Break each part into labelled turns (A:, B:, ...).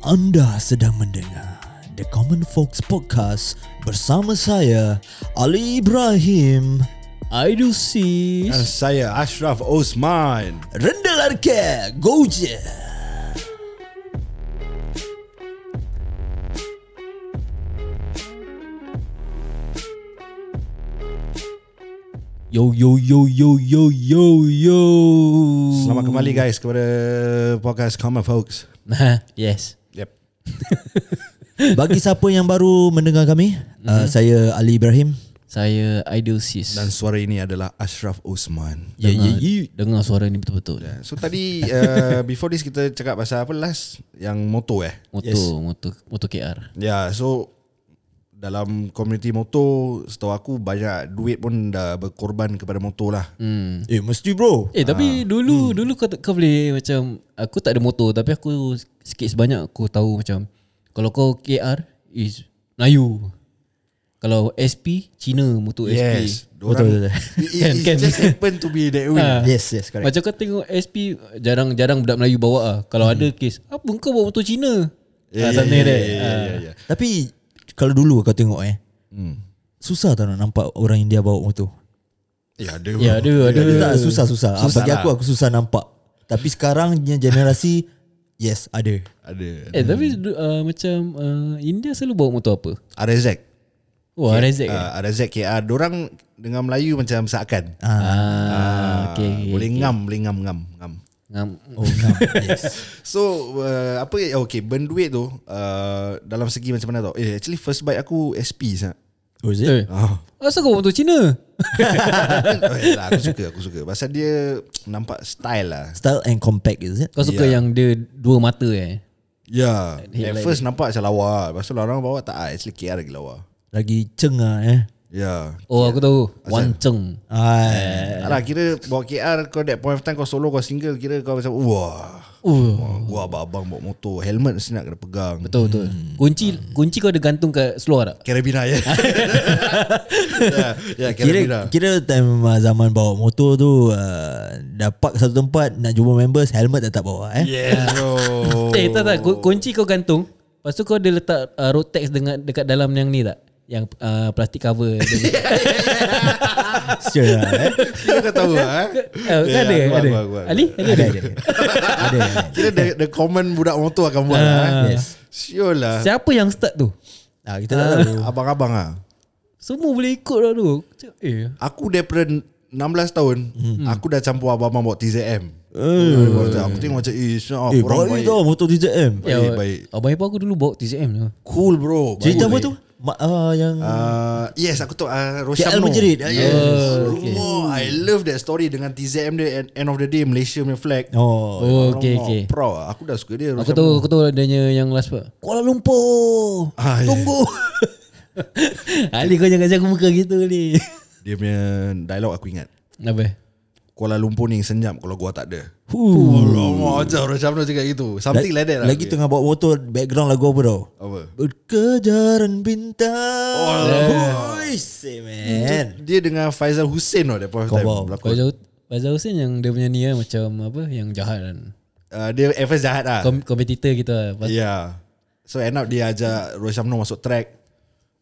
A: Anda sedang mendengar The Common Folks Podcast bersama saya Ali Ibrahim, Aidul
B: Dan
A: Sis,
B: Eh, saya Ashraf Osman
A: Rendel Arke, go je. Yo yo yo yo yo yo yo.
B: Selamat kembali guys kepada podcast Common Folks
C: Yes.
B: Yep
A: Bagi siapa yang baru mendengar kami, mm-hmm. uh, saya Ali Ibrahim.
C: Saya Idol Sis.
B: Dan suara ini adalah Ashraf Osman
C: ya, ya, ya. Dengar suara ni betul-betul.
B: So tadi uh, before this kita cakap pasal apa last Yang motor eh
C: Motor,
A: Yes.
C: motor, motor KR.
B: Ya yeah, so dalam komuniti motor setahu aku banyak duit pun dah berkorban kepada motor lah
C: Hmm.
A: Eh mesti bro.
C: Eh tapi dulu hmm. dulu kau kau boleh macam aku tak ada motor tapi aku sikit sebanyak aku tahu macam kalau kau KR is Melayu. Kalau SP Cina motor SP.
B: Yes Orang,
A: Betul, betul.
B: It, it, it
C: Kan, kan.
B: just happen to be that way
C: Ah.
A: Yes, yes, correct.
C: Macam kau tengok SP jarang-jarang budak Melayu bawa ah. Kalau hmm. ada kes, apa kau bawa motor Cina?
B: Ya,
C: Ah,
B: ya,
C: something
B: ya,
C: like that.
B: ya, ya,
C: Ah.
B: ya, ya.
A: Tapi kalau dulu kau tengok eh,
B: Hmm.
A: susah tau nak nampak orang India bawa motor.
B: Ya ada
C: Ya, ada, ada.
A: Tak "Ah, susah susah. susah
B: Susah
A: Bagi
B: lah.
A: aku aku susah nampak. Tapi sekarangnya generasi yes ada.
B: Ada
C: Eh tapi du- uh, macam uh, India selalu bawa motor apa?
B: RZ
C: Wah, yeah. Razak. Uh,
B: uh, ada ZKR Diorang dengan Melayu macam seakan
C: ah, okay,
B: okay,
C: okay.
B: Boleh ngam Boleh ngam ngam, ngam.
C: Ngam.
A: Oh ngam. yes.
B: So uh, Apa Okay Benduit tu uh, Dalam segi macam mana tau Eh actually first bike aku SP sah.
A: Oh, is it?
C: Eh,
B: Oh.
C: asal kau bawa motor Cina?
B: Eh, lah, aku suka Aku suka Pasal dia Nampak style lah
A: Style and compact is it?
C: Kau suka
B: Ya.
C: yeah. yang dia dua mata eh?
B: Ya yeah. At
C: Headlight
B: first nampak macam lawa Lepas tu lah orang bawa tak ah, Actually KR lagi lawa
A: Lagi ceng ah eh.
B: Ya yeah.
C: Oh, aku tahu. Wanceng.
A: Ah,
B: Tak lah kira Bawa KR Kau that point of time Kau solo kau single Kira kau macam Wah
C: Oh,
B: Wah, Gua abang-abang bawa motor Helmet mesti nak kena pegang
C: betul betul.
B: Hmm.
C: Kunci kunci kau ada gantung kat seluar tak?
B: Karabina ya. ya, ya
A: Kira
B: karabina.
A: kira time uh, zaman bawa motor tu uh, dah park satu tempat nak jumpa members helmet dah tak bawa eh.
B: Yes. Oh.
C: Oh. Eh, tak tak. Ku- Kunci kau gantung. Lepas tu kau ada letak uh, road tax dengan dekat dalam yang ni tak? Yang uh, plastik cover. dia.
A: Sure lah eh.
B: Kira kau tahu ah.
C: uh,
B: Ya, aku,
C: yeah, ada, ada.
B: aku, aku, aku.
C: Ali,
A: Ada
C: ada ada.
A: ada. Ada.
B: Kira the, the common budak motor akan buat lah. eh.
A: Ah. Yes.
B: Sure lah.
C: Siapa yang start tu?
A: Ah kita tak tahu.
B: Abang-abang ah.
C: Semua boleh ikut lah tu. Aku cakap, Eh,
B: Aku daripada 16 tahun,
A: Hmm.
B: aku dah campur abang-abang buat TZM. Aku tengok macam Eh, siap,
A: Eh, baik
B: orang baik
A: tau motor DJM.
B: Baik,
C: Ya,
B: baik.
C: Abang ipar aku dulu bawa TCM tu.
B: Cool bro
A: Cerita apa tu?
B: Cool.
A: Ma, uh, yang
B: Ah, yes aku tahu uh,
A: KL
B: Rosyam Noor.
A: menjerit. Ah,
B: yes.
A: yes. Okay.
B: Oh, I love that story Dengan TZM dia End- End of the day Malaysia punya flag
A: Oh.
C: Oh,
B: Orang
C: okey
B: mau
C: okey.
B: Proud lah. Aku dah suka dia
C: Aku tahu aku tahu adanya yang last part. Kuala Lumpur.
B: Ah, ya.
C: Tunggu. Ali kau jangan kasi aku muka gitu ni.
B: Dia punya dialog aku ingat
C: Apa?
B: Kuala Lumpur ni senyap Kalau gua tak ada Alamak Macam orang Syamno cakap gitu Something like, that lah
A: Lagi tengah bawa motor Background lagu apa tau
B: Apa
A: Berkejaran bintang
B: Oh,
A: Oi, say, man
B: Dia dengan Faizal Hussein tau That point of
A: Kau
B: time
A: bawa.
B: Berlakon.
C: Faizal Faizal Hussein yang dia punya ni lah, macam apa yang jahat kan.
B: Ah, Dia at first jahat lah
C: Kom- kompetitor kita lah.
B: Ya
C: Pas-
B: yeah. So end up dia ajak Rosyamno masuk track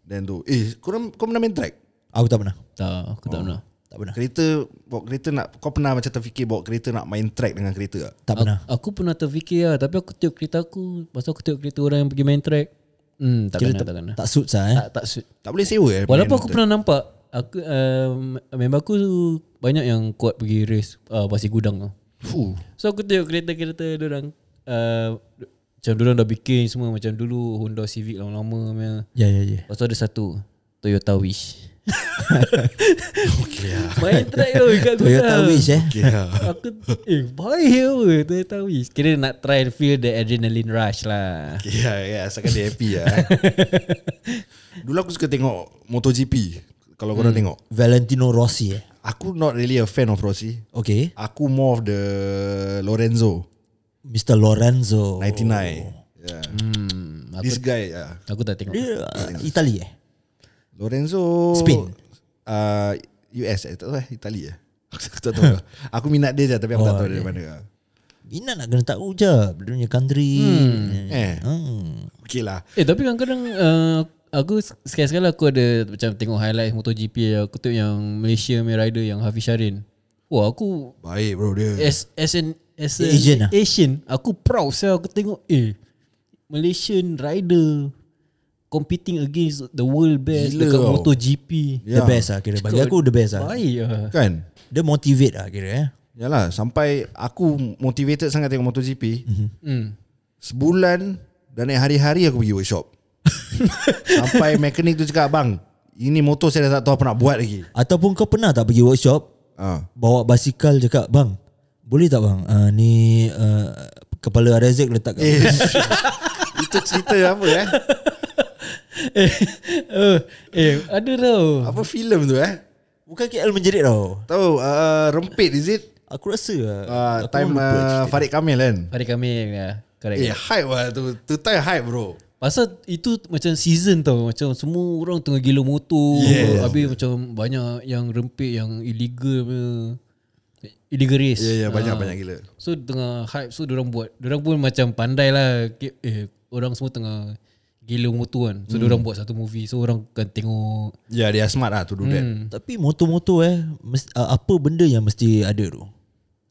B: Then tu Eh korang, kau pernah main track
A: Aku tak pernah
C: Tak, aku tak pernah.
A: Tak pernah
B: Kereta Bawa kereta nak Kau pernah macam terfikir Bawa kereta nak main track Dengan kereta tak
A: Tak pernah
C: Aku, aku pernah terfikir lah tapi aku tengok kereta aku, pasal aku tengok kereta orang yang pergi main track. Hmm, tak kena, tak kena.
A: Tak suits lah eh
C: Tak tak suit.
B: Tak boleh sewa eh
C: Walaupun aku
B: main
C: pernah nampak aku um, member aku banyak yang kuat pergi race uh, pasir gudang tu.
B: Fuh.
C: So aku tengok kereta-kereta dia orang uh, macam dia orang dah bikin semua macam dulu Honda Civic lama-lama punya.
A: Ya ya ya
C: Lepas tu ada satu Toyota Wish. okay Main lah, track tu kat gudang.
A: ah. Toyota Wish eh
B: Okay lah
C: Aku eh baik apa Toyota Wish. Kira nak try and feel the adrenaline rush lah.
B: Ya, ya, asalkan dia happy lah. eh. Dulu aku suka tengok MotoGP. Kalau korang
A: Hmm.
B: tengok.
A: Valentino Rossi eh
B: Aku not really a fan of Rossi.
A: Okay
B: Aku more of the Lorenzo
A: Mr. Lorenzo
B: 99.
A: Oh.
B: Yeah.
C: Hmm, aku,
B: This guy, ya. yeah.
C: aku tak tengok.
A: Dia uh, Itali eh
B: Lorenzo
A: Spain.
B: Uh,
A: Oh, ya.
B: US eh, tak tahu eh, Itali eh. Aku tak tahu. aku minat dia je tapi aku tak tahu dari mana.
A: Ina nak kena tahu je Dia punya country hmm.
B: Eh
A: Hmm.
B: Okay lah
C: Eh tapi kadang-kadang uh, Aku sekali-sekali aku ada Macam tengok highlight MotoGP Aku tengok yang Malaysia punya rider Yang Hafiz Syarin Wah aku
B: Baik
A: Eh,
B: bro dia
C: As, as an as an
A: Asian
C: Asian,
A: lah.
C: Aku proud saya Aku tengok Eh Malaysian rider Competing against The world best
B: Gila
C: Gila Dekat
B: tau.
C: MotoGP
A: The best lah kira Bagi aku the best lah
C: Baik lah
B: Kan
A: Dia motivate lah kira eh
B: Yalah sampai Aku motivated sangat tengok MotoGP mm-hmm.
C: hmm.
B: Sebulan Dan naik hari-hari aku pergi workshop Sampai mekanik tu cakap Bang Ini motor saya dah tak tahu apa nak buat lagi
A: Ataupun kau pernah tak pergi workshop
B: ha.
A: Bawa basikal cakap Bang Boleh tak bang uh, Ni uh, Kepala Rezek letak kat
B: Eh, Itu cerita apa eh
C: eh, eh, eh Ada tau
B: Apa filem tu eh
A: Bukan KL menjerit tau
B: Tahu uh, Rempit is it
A: Aku rasa ah,
B: uh,
A: aku
B: Time
A: lupa
B: uh,
A: cerita.
B: Farid Kamil kan
C: Hari kami ya, Correct
B: Eh hype lah tu Tu time hype bro
C: Pasal itu macam season tau Macam semua orang tengah gila motor
B: Yes.
C: yes. Habis macam banyak yang rempit Yang illegal punya Illegal race
B: Ya yeah, ya yeah,
C: Ah.
B: banyak-banyak gila
C: So tengah hype So diorang buat Diorang pun macam pandai lah Ke- eh, Orang semua tengah Gila motor kan So hmm. diorang buat satu movie So orang akan tengok
B: Ya yeah, dia smart lah to do that
A: Tapi motor-motor eh mes- uh, Apa benda yang mesti ada tu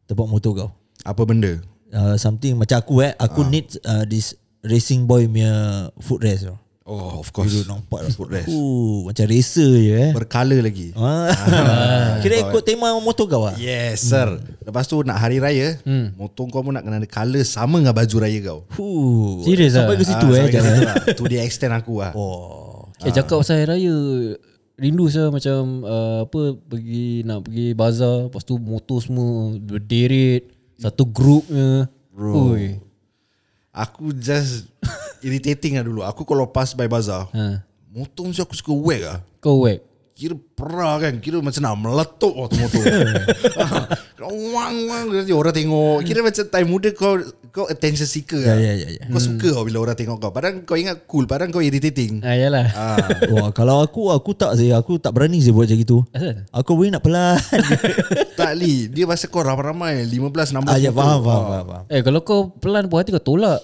A: Tempat motor kau
B: Apa benda
A: uh, Something macam aku eh Aku uh. need uh, this Racing boy punya footrest tau
B: Oh of course
A: Duduk nampak lah tau
B: Footrest.
A: Aku macam racer je eh
B: Berkala lagi
A: Ah. Kira ikut tema motor kau lah
B: Yes sir Hmm. Lepas tu nak hari raya
A: Hmm.
B: Motor kau pun nak kena ada colour Sama dengan baju raya kau
A: Huh.
C: Serious
A: Sampai
C: ah?
A: ke situ
B: Ah,
A: eh
B: sampai
A: jangan.
B: kat situ lah. Tu dia extend aku lah
A: Oh.
C: Eh cakap pasal Hari Raya Rindu saya macam uh, Apa Pergi Nak pergi bazar Lepas tu motor semua Berderet Satu group Bro Ui.
B: Aku just Irritating lah dulu Aku kalau pass by bazaar
C: Ha.
B: Motor mesti aku suka whack lah
C: Kau whack
B: Kira perah kan Kira macam nak meletup waktu motor Ah, Wang wang Nanti orang tengok Kira macam time muda kau Kau attention seeker lah
A: ya, ya, ya.
B: Kau suka tau bila orang tengok kau Padahal kau ingat cool Padahal kau irritating
C: ah, Yalah
B: ah.
A: Wah, kalau aku aku tak saya aku tak berani saya buat macam gitu.
C: Asal?
A: Aku boleh nak pelan.
B: Tak Li Dia pasal kau ramai-ramai 15, 16
A: ah, ya,
B: motor.
A: faham, faham, faham, faham.
C: Eh kalau kau pelan buat hati kau tolak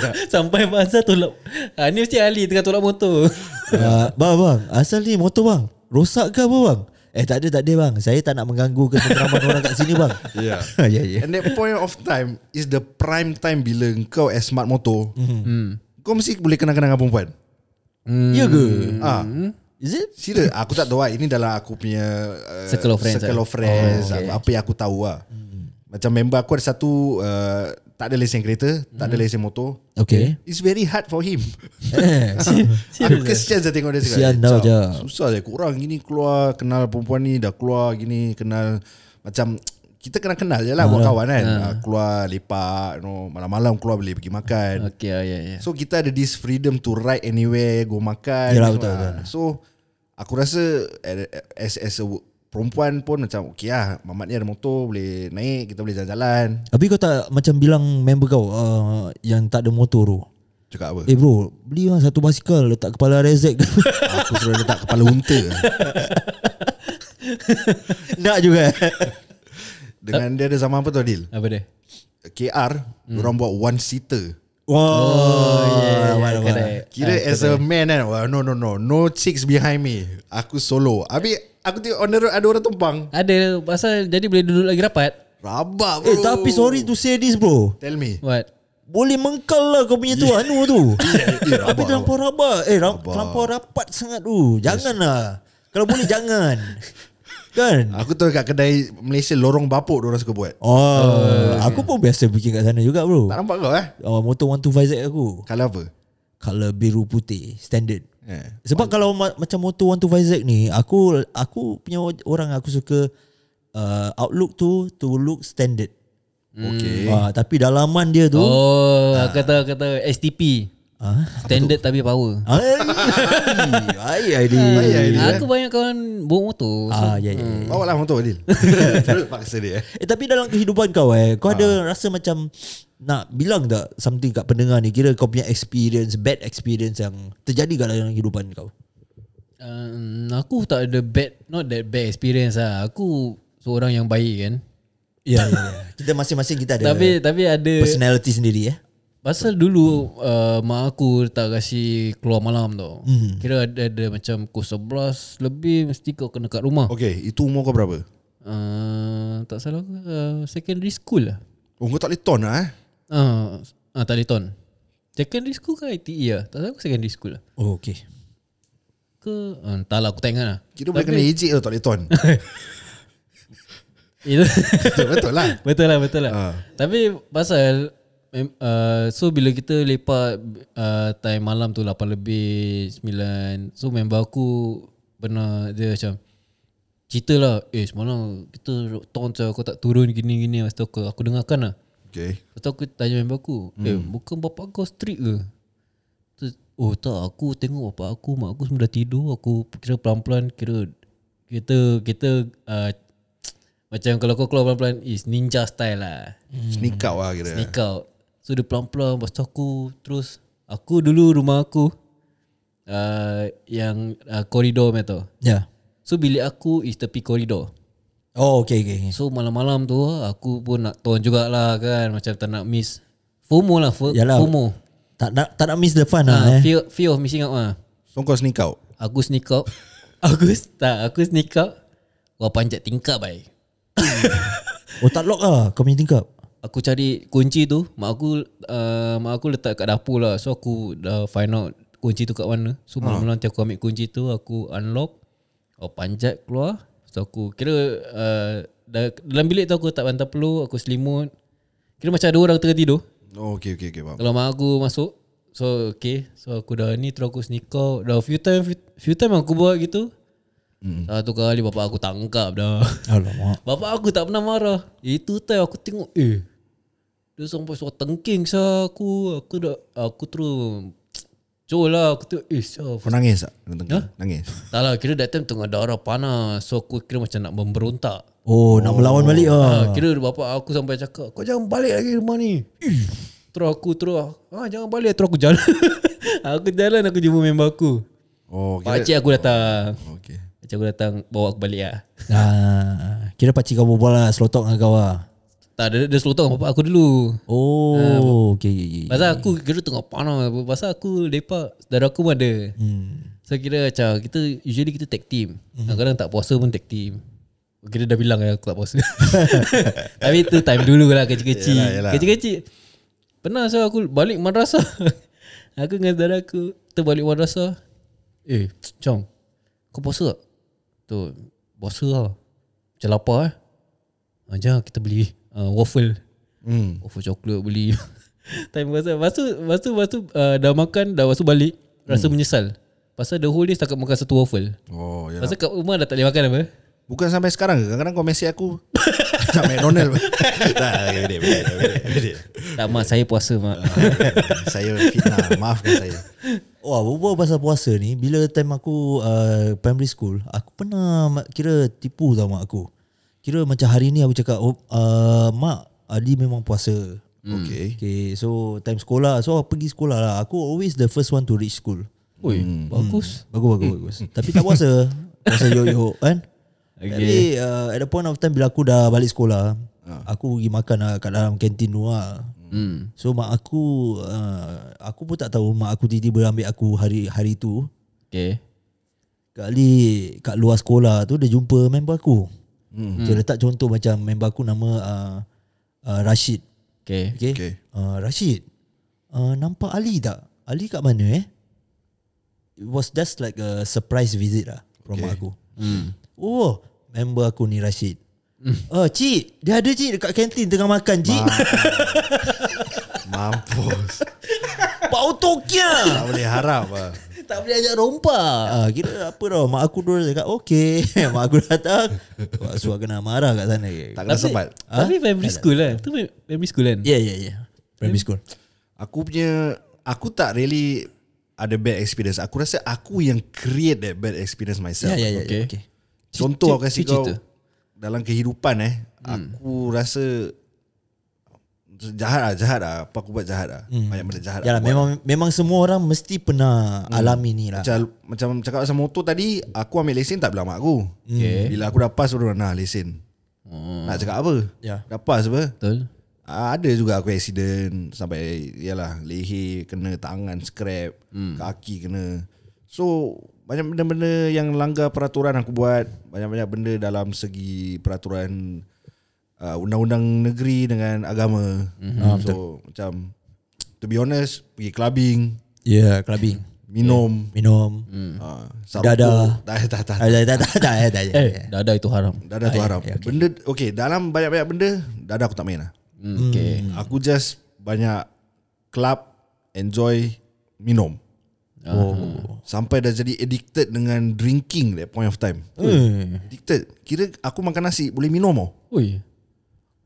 C: Ya. Sampai masa tolak ha, Ni mesti Ali tengah tolak motor
A: Ah, bang, bang, asal ni motor bang. Rosak ke apa bang? Eh tak ada tak ada bang. Saya tak nak mengganggu ketenteraman orang kat sini bang.
B: Ya.
A: ya ya.
B: And that point of time Is the prime time Bila kau as smart motor
A: Mhm.
C: Hmm.
B: mm-hmm. Kau mesti boleh kenal-kenal dengan perempuan
A: Ya ke?
C: Hmm.
B: ah.
A: Is it?
B: Serius Aku tak tahu lah Ini dalam aku punya uh,
C: Circle of friends
B: Circle
C: lah.
B: of friends oh, okay. Apa yang aku tahu lah
A: Hmm.
B: Macam member aku ada satu uh, Tak ada lesen kereta Tak
C: Hmm.
B: ada lesen motor
A: Okay.
B: It's very hard for him
A: Eh.
B: Aku kesian saya tengok dia cakap
A: Kesian
B: eh,
A: tau,
B: Chao,
A: Chao."
B: Susah je Korang gini keluar Kenal perempuan ni Dah keluar gini Kenal Macam Kita kena kenal je lah Buat kawan kan Ah, Keluar lepak you know, Malam-malam keluar Boleh pergi makan
C: Okay ah, ya ya
B: So kita ada this freedom to ride anywhere, go makan.
A: Yalah,
B: semua.
A: betul, betul.
B: So aku rasa as as a perempuan pun macam okey lah, mamat ni ada motor boleh naik, kita boleh jalan-jalan.
A: Tapi kau tak macam bilang member kau uh, yang tak ada motor tu.
B: Cakap apa?
A: Eh bro, beli lah satu basikal letak kepala rezek.
B: aku suruh letak kepala unta
A: nak juga. eh?
B: Dengan dia ada zaman apa tu Adil?
C: Apa dia?
B: KR hmm. Orang buat one seater
A: Wah,
C: Correct.
B: Kira as a man kan well, No no no No chicks behind me Aku solo Habis Aku tengok on the road Ada orang tumpang
C: Ada pasal jadi boleh duduk lagi rapat
B: Rabak bro
A: Eh tapi sorry to say this bro
B: Tell me
C: What?
A: Boleh mengkal lah kau punya
B: Ya.
A: tu Anu tu
B: eh, rabak,
A: Tapi terlampau rabat Eh ram, terlampau rapat sangat tu Janganlah Kalau boleh jangan Kan
B: Aku tahu kat kedai Malaysia Lorong bapuk Diorang suka buat
A: Oh, Aku pun biasa pergi kat sana juga bro
B: Tak nampak kau eh
A: oh, Motor 125Z aku
B: Kalau apa
A: Color biru putih Standard
B: eh.
A: Sebab kalau ma- macam motor 125Z ni Aku aku punya orang aku suka uh, Outlook tu To look standard
B: Okay
A: ah, Tapi dalaman dia tu oh.
C: Oh kata kata STP
A: ah,
C: Standard tapi power
A: Ay, ay, ay, ay, ay,
B: Idea,
C: Aku banyak kawan bawa motor so,
A: Ah, ya, ya, ya.
B: Bawa lah motor Adil Terus paksa dia eh.
A: Eh tapi dalam kehidupan kau eh Kau ada rasa macam Nak bilang tak Something kat pendengar ni Kira kau punya experience Bad experience yang Terjadi kat dalam kehidupan kau
C: Um, aku tak ada bad Not that bad experience lah Aku Seorang yang baik kan Ya ya. ya.
A: Kita masing-masing kita ada
C: Tapi tapi ada
A: personality sendiri eh.
C: Pasal dulu uh, mak aku tak kasi keluar malam tau.
A: Hmm.
C: Mm. Kira ada, ada macam pukul 11 lebih mesti kau kena kat rumah. Okay.
B: Okay itu umur kau berapa?
C: Uh, tak salah aku uh, secondary school lah.
B: Oh kau tak boleh ton lah eh
C: Ah, uh, uh, Taliton. Secondary school ke ITE lah? Tak salah aku secondary school lah.
A: Oh okay.
C: Ke uh, entahlah aku tak ingat lah.
B: Kita boleh kena ejek tau tak boleh ton
C: Itu
B: Betul betul lah
C: betul lah betul lah. Tapi pasal mem- uh, so bila kita lepak uh, time malam tu 8 lebih 9 so member aku pernah dia macam cerita lah eh semalam kita tong macam kau tak turun gini gini lepas tu aku, aku dengarkan lah
B: Okay
C: lepas tu aku tanya member aku hmm. eh bukan bapak kau strict ke tu, oh tak aku tengok bapak aku mak aku semua dah tidur aku kira pelan-pelan kira kita kita uh, macam kalau kau keluar pelan-pelan is ninja style lah
B: Sneak out lah kira
C: Sneak out So dia pelan-pelan Lepas tu aku Terus Aku dulu rumah aku uh, Yang uh, Koridor macam tu
A: Ya.
C: So bilik aku Is tepi koridor
A: Yeah. Oh okay okay. okay.
C: So malam-malam tu Aku pun nak turn jugalah kan Macam tak nak miss FOMO lah F-
A: Yalah.
C: FOMO
A: Tak nak tak nak miss the fun
C: Ah,
A: lah eh.
C: fear, fear of missing out lah
B: So kau sneak out
C: Aku sneak out Aku s- tak Aku sneak out Wah panjat tingkap baik
A: Oh tak lock lah kau punya tingkap.
C: Aku cari kunci tu Mak aku uh, Mak aku letak kat dapur lah So aku dah find out Kunci tu kat mana So malam-malam nanti aku ambil kunci tu Aku unlock Aku panjat keluar So aku kira uh, dah, Dalam bilik tu aku tak bantal peluh Aku selimut Kira macam ada orang tengah tidur
B: Oh okay okay okay faham
C: Kalau mak aku masuk So okay So aku dah ni Terus aku sneak out Dah few time Few, few time aku buat gitu mm. Satu kali bapak aku tangkap dah
A: Alamak.
C: Bapak aku tak pernah marah. Itu time aku tengok eh. Dia sampai suara tengking sah aku. Aku dah aku terus Col lah aku tu eh sah.
B: Kau nangis tak? Huh? Nangis
C: Tak lah kira that time tengah darah panas. So aku kira macam nak memberontak.
A: Oh, nak melawan balik ah.
C: Ha, kira bapak aku sampai cakap kau jangan balik lagi rumah ni. Ih. Terus aku terus ah jangan balik terus aku jalan. aku jalan aku jumpa member aku.
B: Oh kira
C: Pakcik aku datang.
B: Okay
C: Pakcik aku datang bawa aku balik lah.
A: Ah, kira pakcik kau berbual lah Slow talk dengan kau lah
C: Tak dia, dia slow talk dengan bapak aku dulu.
A: Oh
C: Ah,
A: okay, okay, okay.
B: Hmm.
C: Pasal aku kira tengah panas Pasal aku lepak Saudara aku pun ada hmm. So kira macam Kita usually kita tag team
B: Hmm.
C: Kadang-kadang tak puasa pun tag team Kira dah bilang kan aku tak puasa Tapi tu time dulu lah kecil-kecil
B: Yalah, yalah.
C: Kecil-kecil Pernah so aku balik madrasah Aku dengan saudara aku Kita balik madrasah Eh Chong Kau puasa tak? Tu Puasa lah Macam lapar eh Ajar kita beli uh, Waffle
B: Hmm
C: Offer coklat beli Time pasal Lepas tu Lepas tu, lepas tu uh, Dah makan Dah lepas tu balik Rasa menyesal Pasal the whole day Setakat makan satu waffle
B: Oh ya.
C: Pasal kat rumah Dah tak boleh makan apa
B: Bukan sampai sekarang ke? Kadang-kadang kau mesej aku Macam McDonald Tak bedek, bedek, bedek, bedek.
C: Tak mak saya puasa mak
B: Ah, Saya fitnah Maafkan saya
A: Wah berbual pasal puasa ni Bila time aku uh, primary school Aku pernah ma- kira tipu tau mak aku Kira macam hari ni aku cakap oh, uh, Mak Adi memang puasa
B: Okay
A: Okay so time sekolah So aku pergi sekolah lah Aku always the first one to reach school
C: Ui bagus
A: Bagus bagus bagus Tapi tak puasa Puasa yo-yo kan okay. Tapi uh, at the point of time Bila aku dah balik sekolah Aku pergi makan lah Kat dalam kantin tu lah
C: hmm.
A: So mak aku uh, Aku pun tak tahu Mak aku tiba-tiba ambil aku hari hari tu
C: Okay
A: Kali kat luar sekolah tu Dia jumpa member aku hmm. Dia letak contoh macam Member aku nama uh, uh, Rashid
C: Okay
A: Okay,
B: Okay.
A: okay. Uh, Rashid uh, Nampak Ali tak? Ali kat mana eh? It was just like a surprise visit lah From okay. aku
C: hmm.
A: Oh Member aku ni Rashid Oh cik Dia ada cik dekat kantin tengah makan cik
B: Mampus
A: Pau Tokia
B: Tak boleh harap lah
C: Tak boleh ajak rompak
A: Ah, kira apa tau Mak aku dulu cakap Okay Mak aku datang Mak suar kena marah kat sana
B: Tak kena sebat
C: Tapi primary school lah Tu primary school kan
A: Ya ya ya Primary school
B: Aku punya Aku tak really Ada bad experience Aku rasa aku yang create that bad experience myself
A: Ya ya ya
C: Okay.
A: okay.
B: Contoh aku kasi
C: cita-
B: kau
C: cita.
B: Dalam kehidupan eh Aku rasa Jahat lah jahat lah Apa aku buat jahat lah Banyak benda jahat
A: Hmm. Yalah
B: aku buat.
A: memang memang semua orang mesti pernah alami ni lah.
B: Macam macam cakap pasal motor tadi, aku ambil lesen tak bilang mak aku.
C: Okay.
B: Bila aku dah pass baru nah lesen. Hmm. Nak cakap apa?
A: Ya.
B: Gapas apa?
C: Betul
B: Ah, ada juga aku accident sampai yalah leher kena tangan scrap, hmm. kaki kena. So banyak benda-benda yang langgar peraturan aku buat, banyak-banyak benda dalam segi peraturan uh, undang-undang negeri dengan agama.
A: Hmm. Ah,
B: Mm-hmm. So macam to be honest, pergi clubbing,
A: Ya, yeah, clubbing.
B: minum,
A: Minum. Hmm.
B: yeah. uh,
A: Dadah.
B: tak tak tak.
A: Ah, tak tak tak tak eh, tak. tak.
C: Eh dadah itu haram
B: Dadah tu haram. Okay. Benda okey, dalam banyak-banyak benda dadah aku tak main lah.
C: hmm. Okay
B: Aku just banyak club enjoy minum. Oh. Sampai dah jadi addicted dengan drinking that point of time.
C: Hmm.
B: Addicted. Kira aku makan nasi boleh minum oh.
C: Ui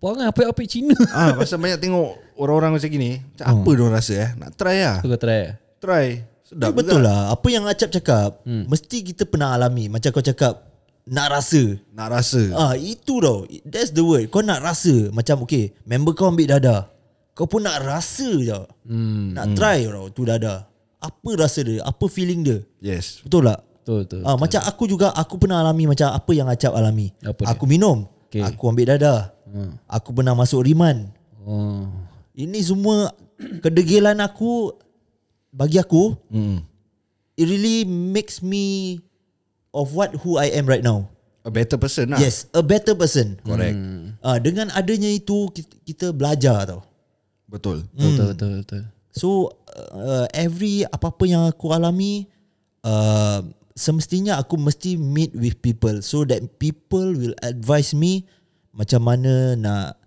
C: Perangai apik-apik Cina
B: Ah, pasal banyak tengok orang-orang macam gini, macam apa dia orang rasa eh? Nak try lah.
C: Aku kau try eh?
B: Try. Sedap
A: Tapi betul lah Apa yang Acap cakap hmm. Mesti kita pernah alami Macam kau cakap Nak rasa
B: Nak rasa.
A: Ah Itu tau That's the word Kau nak rasa Macam okay Member kau ambil dadah Kau pun nak rasa je hmm. Nak try tau Tu dadah Apa rasa dia Apa feeling dia
B: Yes.
A: Betul tak
C: Betul betul
A: Ah, macam aku juga Aku pernah alami Macam apa yang Acap alami
C: Apa dia?
A: Aku minum
C: Okay.
A: Aku ambil dadah Aku pernah masuk riman
C: oh.
A: Ini semua Kedegilan aku Bagi aku
B: Hmm.
A: it really makes me of what who I am right now.
B: A better person lah.
C: Ah.
A: Yes, a better person.
B: Correct.
A: Uh, dengan adanya itu kita, kita belajar tau.
B: Betul.
C: Betul, betul betul betul
A: So uh, every apa-apa yang aku alami uh, semestinya aku mesti meet with people so that people will advise me macam mana nak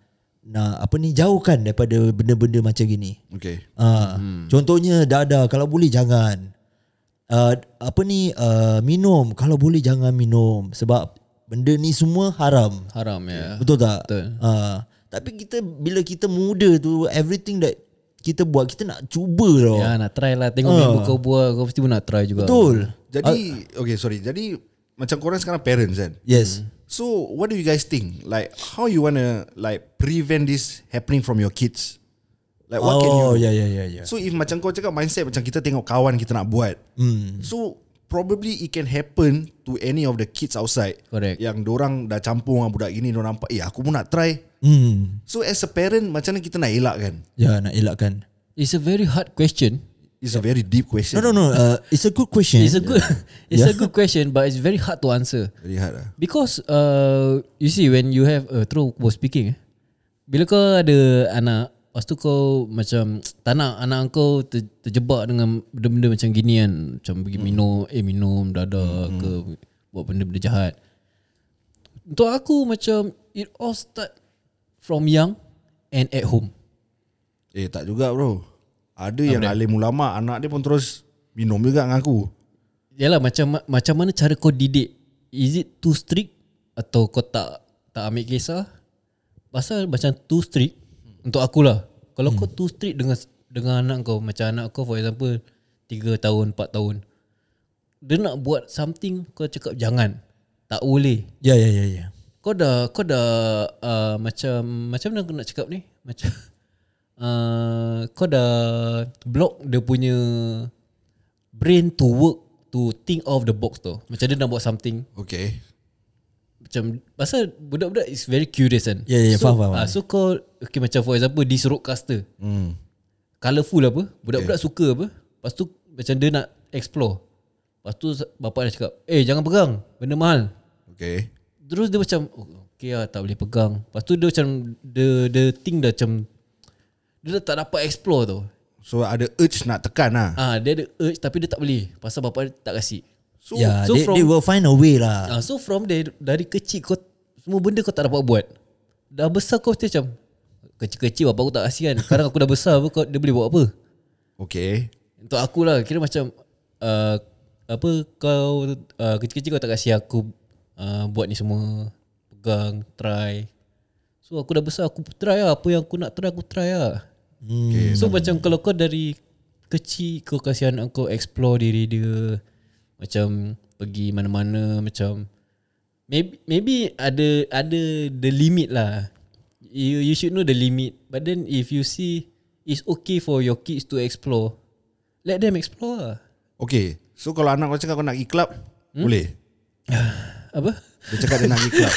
A: nak apa ni jauhkan daripada benda-benda macam gini.
B: Okay.
A: Ha, hmm. Contohnya dada kalau boleh jangan. Uh, apa ni uh, minum kalau boleh jangan minum sebab benda ni semua haram.
C: Haram ya
A: Betul tak?
C: Betul.
A: Ha, tapi kita bila kita muda tu everything that kita buat kita nak cuba tau.
C: Ya nak try lah Tengok member kau buat Kau mesti pun nak try juga
A: Betul.
B: Jadi, okay sorry. Jadi macam korang sekarang parents kan?
A: Yes.
C: Hmm.
B: So what do you guys think? Like how you wanna like prevent this happening from your kids? Like what can you?
A: oh, ya ya ya ya.
B: So if macam kau cakap mindset macam kita tengok kawan kita nak buat.
A: Hmm,
B: Mm.
A: Mm-hmm.
B: So probably it can happen to any of the kids outside.
C: Correct.
B: Yang dorang dah campur dengan budak gini dorang nampak, "Eh, aku pun nak try."
A: Hmm.
B: So as a parent macam mana kita nak kan? elakkan?
A: Ya nak elakkan.
C: It's a very hard question
B: It's a very deep
A: No
B: question.
A: no no, uh, it's a good question.
C: It's a good It's a good question But it's very hard to answer
B: Very hard lah.
C: Because uh, You see when you have uh, Through was speaking eh, Bila kau ada anak Lepas tu kau macam Tak nak anak kau ter, terjebak dengan Benda-benda macam gini kan Macam pergi minum Eh minum dadah hmm. ke Buat benda-benda jahat Untuk aku macam It all start From young And at home
B: Eh, tak juga bro. Ada yang alim ulama anak dia pun terus minum juga dengan aku.
C: Yalah macam macam mana cara kau didik? Is it too strict atau kau tak tak ambil kisah? Pasal macam too strict untuk akulah. Kalau hmm. kau too strict dengan dengan anak kau, macam anak kau for example 3 tahun, 4 tahun. Dia nak buat something kau cakap jangan. Tak boleh.
A: Ya ya ya ya.
C: Kau dah kau dah uh, macam macam mana aku nak cakap ni? Macam uh, kau dah block dia punya brain to work to think of the box tu. Macam dia nak buat something
B: Okay.
C: macam pasal budak-budak is very curious kan.
A: Ya, ya,
C: so,
A: faham, faham,
C: ah, so kau okay, macam for example this roadcaster.
B: Hmm.
C: Colourful apa? Budak-budak yeah. suka apa? Lepas tu macam dia nak explore. Lepas tu bapak dia cakap, "Eh, jangan pegang. Benda mahal."
B: Okay.
C: Terus dia macam oh, Okay lah tak boleh pegang Lepas tu dia macam Dia, dia think dah macam Dia dah tak dapat explore tau
B: So ada urge nak tekan lah.
C: Ah, Dia ada urge tapi dia tak boleh Pasal bapa dia tak kasi
B: So
A: yeah,
C: so
A: Ya, they,
C: from-
A: they will find a way lah.
C: ah, So from there Dari kecil kau Semua benda kau tak dapat buat Dah besar kau mesti macam Kecil-kecil bapa aku tak kasi kan Sekarang aku dah besar apa, kau, Dia boleh buat apa
B: Okay
C: Untuk aku lah Kira macam uh, Apa Kau uh, Kecil-kecil kau tak kasi aku uh, Buat ni semua Pegang Try So aku dah besar Aku try lah Apa yang aku nak try Aku try lah okay. So macam kalau kau dari Kecil Kau kasi anak kau Explore diri dia Macam Pergi mana-mana Macam Maybe, maybe ada ada the limit lah. You you should know the limit. But then if you see it's okay for your kids to explore, let them explore lah.
B: Okay So kalau anak kau cakap kau nak pergi club hmm? Boleh
C: Apa?
B: Dia cakap dia nak pergi club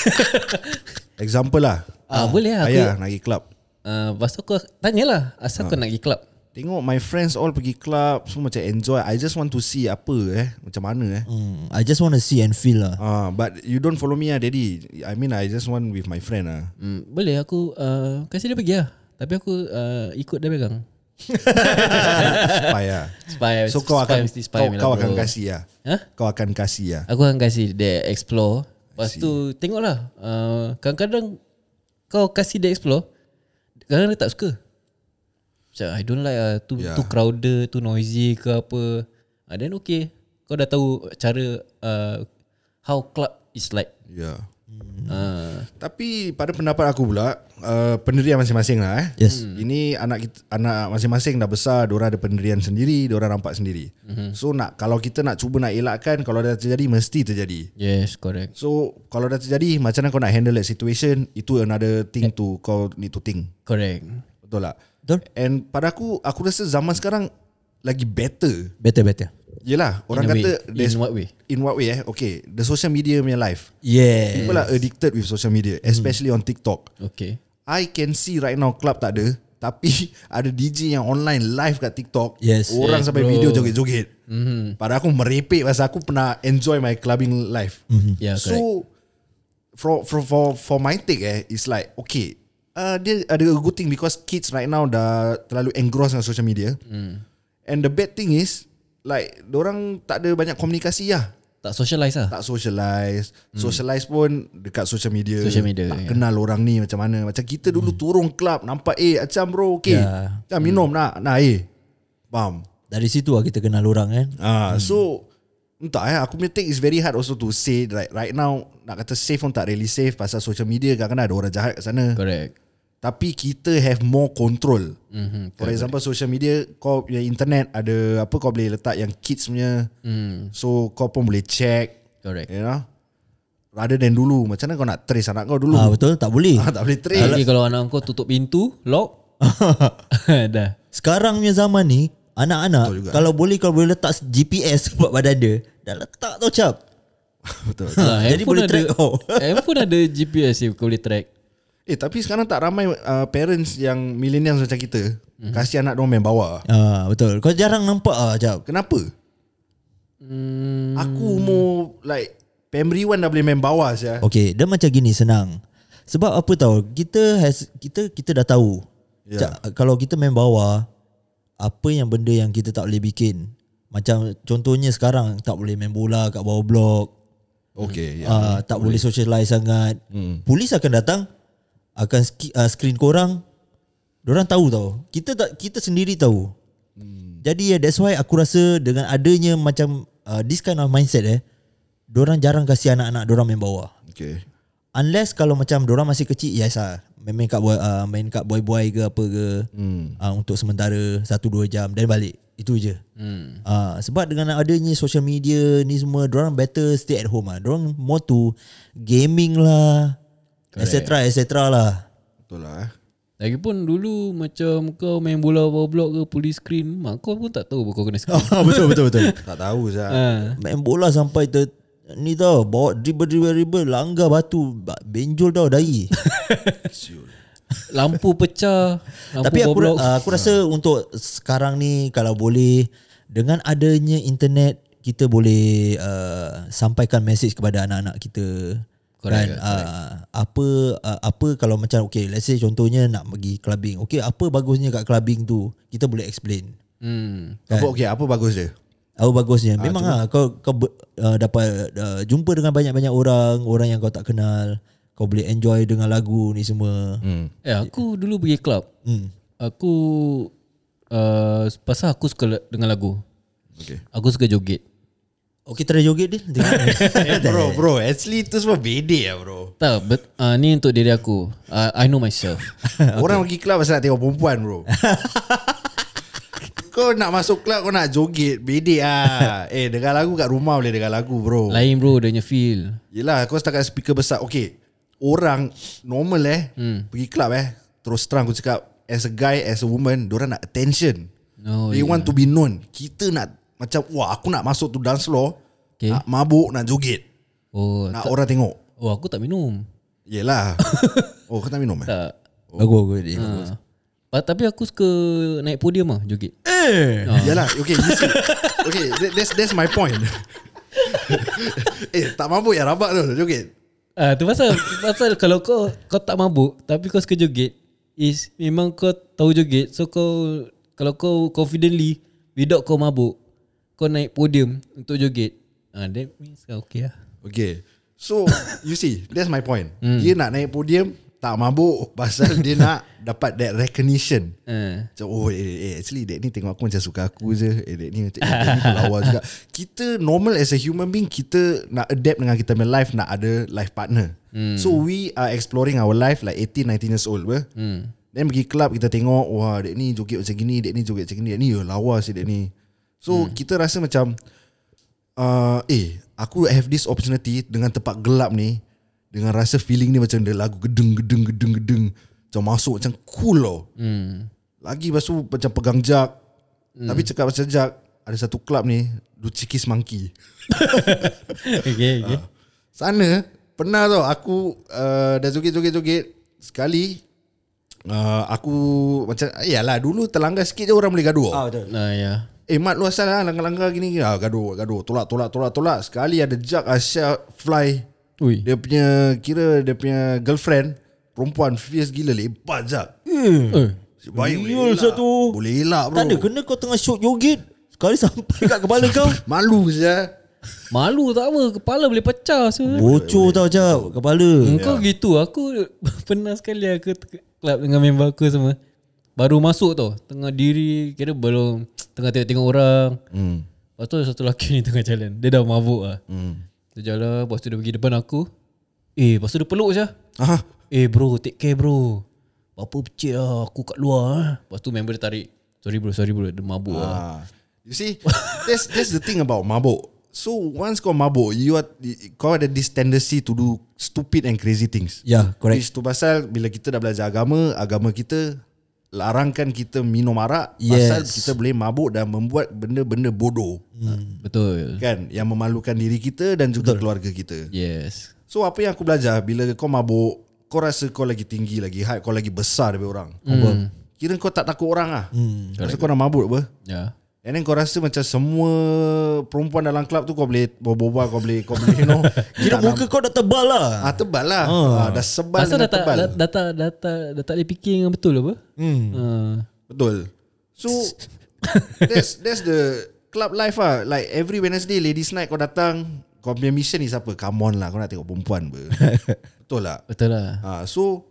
B: Example lah.
C: Ah, boleh lah aku.
B: Ayah nak pergi club.
C: Ah, lepas tu aku tanyalah asal
B: Ah.
C: kau nak pergi club.
B: Tengok my friends all pergi club, semua macam enjoy. I just want to see apa eh, macam mana eh.
A: Hmm, I just want to see and feel lah.
B: Ah, but you don't follow me ah, daddy. I mean, I just want with my friend ah.
C: Hmm, boleh aku uh, kasi dia pergi lah. Tapi aku uh, ikut dia pegang.
B: Spy ah.
C: Spy,
B: So kau
C: spy
B: akan
C: mesti spy
B: kau,
C: punya
B: kau
C: lah,
B: akan
C: bro.
B: kasih ah.
C: Hah?
B: Kau akan kasih ah.
C: Aku akan kasi dia explore Lepas tu tengoklah uh, Kadang-kadang Kau kasih dia explore Kadang-kadang dia tak suka Macam I don't like lah Too,
B: Yeah.
C: yeah. too crowded Too noisy ke apa uh, Then okay Kau dah tahu cara uh, How club is like
B: Ya. Yeah.
A: Hmm.
C: uh,
B: Tapi pada pendapat aku pula, uh, pendirian masing-masing lah eh.
A: Yes.
B: Ini anak kita, anak masing-masing dah besar, diorang ada pendirian sendiri, diorang nampak sendiri.
C: Mhm.
B: Mm-hmm. So nak kalau kita nak cuba nak elakkan kalau dah terjadi mesti terjadi.
C: Yes correct
B: So kalau dah terjadi macam mana kau nak handle that situation itu another thing to kau need to think.
C: Correct
B: Betul tak?
A: Betul?
B: And pada aku aku rasa zaman sekarang lagi better.
A: Better better.
B: Yelah, orang
C: In a way.
B: kata
C: In
B: there's-
C: what way
B: in what way eh? Okay, the social media punya life.
A: Yeah.
B: People are addicted with social media,
C: Hmm.
B: especially on TikTok.
C: Okay
B: I can see right now club tak ada Tapi ada DJ yang online live kat TikTok
A: Yes,
B: Orang
C: yes,
B: sampai
C: bro.
B: video joget-joget mm-hmm. Padahal aku merepek Pasal aku pernah enjoy my clubbing life mm-hmm.
C: Yeah correct
B: So for, for, for, for my take eh It's like okay uh, Dia ada a good thing Because kids right now Dah terlalu engrossed dengan social media mm. And the bad thing is Like orang tak ada banyak komunikasi lah
C: Tak socialise lah
B: tak socialize socialize pun dekat social media
C: Hmm. Social media, ya. Hmm.
B: tak
C: yeah.
B: kenal orang ni macam mana macam kita dulu turun club nampak eh macam bro okey
C: Ya.
A: Yeah.
B: yeah. minum
C: Hmm.
B: nak nak eh faham
A: Dari situ lah kita kenal orang kan.
B: ah
C: hmm.
B: so entah eh aku punya take is very hard also to say right right now nak kata safe pun tak really safe pasal social media kadang-kadang ada orang jahat kat sana
C: Correct
B: tapi kita have more control
C: mm-hmm.
B: For example social media Kau punya internet Ada apa kau boleh letak Yang kids punya
C: mm,
B: So kau pun boleh check
C: Correct
B: You know Ya. Rather than dulu Macam mana kau nak trace anak kau dulu
A: Ah
B: ah,
A: betul tak boleh.
B: Tak boleh trace
C: Lagi kalau anak kau tutup pintu Lock Dah
A: Sekarang punya zaman ni
B: Betul juga.
A: anak-anak kalau boleh kalau boleh letak GPS buat badan dia dah letak tau cap.
B: Betul
A: Jadi
C: Ha, handphone
A: boleh track
C: ada,
A: kau.
C: Handphone ada GPS yang kau boleh track
B: Eh tapi sekarang tak ramai uh, Parents yang millennials macam kita mm-hmm. Kasih anak dorang main bawa
A: Ah betul. Kau jarang nampak ah cap.
B: Kenapa?
C: hmm,
B: Aku umur Like Primary one dah boleh main bawa saya.
A: Okay dia macam gini senang. Sebab apa tahu kita has, kita kita dah tahu.
B: Ya.
A: Yeah. kalau kita main bawah apa yang benda yang kita tak boleh bikin. Macam contohnya sekarang tak boleh main bola kat bawah blok.
B: Okay
A: yeah, uh, tak boleh socialize sangat. Hmm. Polis akan datang akan ski, uh, screen korang. Diorang tahu tau. Kita tak kita sendiri tahu. Hmm. Jadi yeah, that's why aku rasa dengan adanya macam uh, this kind of mindset eh Diorang jarang kasih anak-anak diorang main bawah.
B: Okay
A: Unless kalau macam diorang masih kecil yes lah. Main, main kat boy, uh, main kat boy-boy ke apa ke hmm. uh, untuk sementara 1 2 jam dan balik. Itu je. Hmm. Uh, sebab dengan adanya social media ni semua diorang better stay at home ah. Diorang more to gaming lah. Et cetera, et cetera lah.
B: Betul lah eh.
C: Lagipun dulu macam kau main bola bawah blok ke polis screen Mak kau pun tak tahu kau kena screen
A: betul betul betul. Ah.
B: Tak tahu saya.
C: ha.
A: Main bola sampai ter ni tau bawa dribble dribble dribble langgar batu ba- benjol tau dahi.
C: Lampu pecah Lampu
A: Tapi aku
C: bawah blok
A: uh, aku rasa untuk sekarang ni kalau boleh dengan adanya internet kita boleh uh, sampaikan message kepada anak-anak kita correct, dan uh, apa uh, apa kalau macam okay let's say contohnya nak pergi clubbing okay apa bagusnya kat clubbing tu kita boleh explain
C: hmm.
B: Apa okay apa bagus dia?
A: apa bagusnya memang ah kau kau ber, uh, dapat uh, jumpa dengan banyak-banyak orang orang yang kau tak kenal kau boleh enjoy dengan lagu ni semua
B: Hmm.
C: Eh aku dulu pergi club
A: hmm.
C: Aku uh, Pasal aku suka la- dengan lagu
B: Okay.
C: Aku suka joget
A: Okay try joget dia Tengok.
B: eh, bro, bro, actually itu semua bedek lah bro.
C: Tak but, uh, Ni untuk diri aku uh, I know myself
B: Orang pergi club pasal nak tengok perempuan bro Kau nak masuk club kau nak joget Bedek ah. Eh dengar lagu kat rumah boleh dengar lagu bro
C: Lain bro dia punya feel
B: Yelah kau setakat speaker besar Okay Orang normal eh hmm. Pergi club eh Terus terang aku cakap As a guy as a woman Diorang nak attention
C: No,
B: They yeah. want to be known Kita nak Macam wah aku nak masuk tu dance floor
C: Okay.
B: Nak mabuk nak joget
C: Oh,
B: Nak orang tengok
C: oh aku tak minum
B: Yelah Oh kau tak minum eh
C: Tak
A: Bagus bagus dia. bagus.
C: ha. Pa- Tapi aku suka naik podium lah joget
B: Eh Yelah Okay you see. Okay that, that's, that's my point Eh tak mampu ya rabak tu Joget
C: Ah tu pasal pasal kalau kau kau tak mabuk tapi kau suka joget is memang kau tahu joget so kau kalau kau confidently without kau mabuk kau naik podium untuk joget ah that means kau okay lah.
B: Okay So you see That's my point mm. Dia nak naik podium Tak mabuk Pasal dia nak Dapat that recognition
C: Ah.
B: Macam oh eh, eh, Actually Dek ni tengok aku macam suka aku je Eh Dek ni macam eh, Dek ni lawa juga Kita normal as a human being Kita nak adapt dengan kita punya life Nak ada life partner hmm. So we are exploring our life Like 18, 19 years old weh. Hmm. Then pergi club kita tengok Wah Dek ni joget macam gini Dek ni joget macam gini Dek ni yo, lawa si Dek ni So hmm. kita rasa macam uh, Eh aku have this opportunity Dengan tempat gelap ni Dengan rasa feeling ni macam Dia lagu gedeng gedeng gedeng gedeng Macam masuk macam cool tau
C: Hmm.
B: lagi lepas tu macam pegang jak hmm. Tapi cakap pasal jak Ada satu klub ni Lucikis Monkey
C: Okay, okay.
B: Sana Pernah tau Aku uh, Dah joget-joget-joget Sekali uh, Aku Macam Yalah dulu terlanggar sikit je Orang boleh gaduh
A: Ah betul.
C: Nah, ya.
B: Eh Mat lu asal lah Langgar-langgar gini gini. ah, Gaduh gaduh Tolak tolak tolak tolak Sekali ada jak Asia fly
C: Ui.
B: Dia punya Kira dia punya girlfriend Perempuan fierce gila Lebat jak
C: Eh.
B: Si Bayu
A: Real satu.
B: Boleh elak bro
A: Tak ada kena kau tengah shoot joget sekali sampai kat kepala kau.
B: Malu je
C: Malu tak apa kepala boleh pecah so.
A: Bocor tau cap kepala.
C: Kau gitu Aku pernah sekali aku ke club dengan member aku semua Baru masuk tau Tengah diri Kira belum Tengah tengok-tengok orang
B: Hmm.
C: Lepas tu ada satu lelaki ni tengah jalan Dia dah mabuk lah hmm. Dia jalan Lepas tu dia pergi depan aku Eh lepas tu dia peluk je
B: Ah,
C: Eh bro take care bro Apa pecik lah Aku kat luar ah. Lepas tu member dia tarik Sorry bro sorry bro Dia mabuk
B: ah.
C: lah
B: You see, that's that's the thing about mabuk. So once kau mabuk, you are kau ada this tendency to do stupid and crazy things.
A: Ya, correct.
B: Which tu pasal bila kita dah belajar agama, agama kita larangkan kita minum arak
A: Yes.
B: pasal kita boleh mabuk dan membuat benda-benda bodoh
C: Hmm. Betul
B: kan yang memalukan diri kita dan juga Betul. keluarga kita.
C: Yes
B: So apa yang aku belajar bila kau mabuk, kau rasa kau lagi tinggi lagi hype, kau lagi besar daripada orang. Mm. Kira kau tak takut orang ah. Mm. Rasa kau nak mabuk apa?
C: Ya
B: And then kau rasa macam semua perempuan dalam club tu kau boleh berbual, kau boleh kau boleh you know.
A: Kira muka kau dah tebal lah.
B: ah tebal lah. Ah, dah sebal
C: Pasal
B: dengan
C: dah tak,
B: tebal.
C: dah, dah, tak, dah, tak, dah tak boleh fikir dengan betul apa
A: Hmm.
C: uh,
B: Betul. So that's that's the club life ah. Like every Wednesday ladies night kau datang, kau punya mission is apa? Come on lah, kau nak tengok perempuan ber. Betul lah.
C: Betul lah
B: Ah, so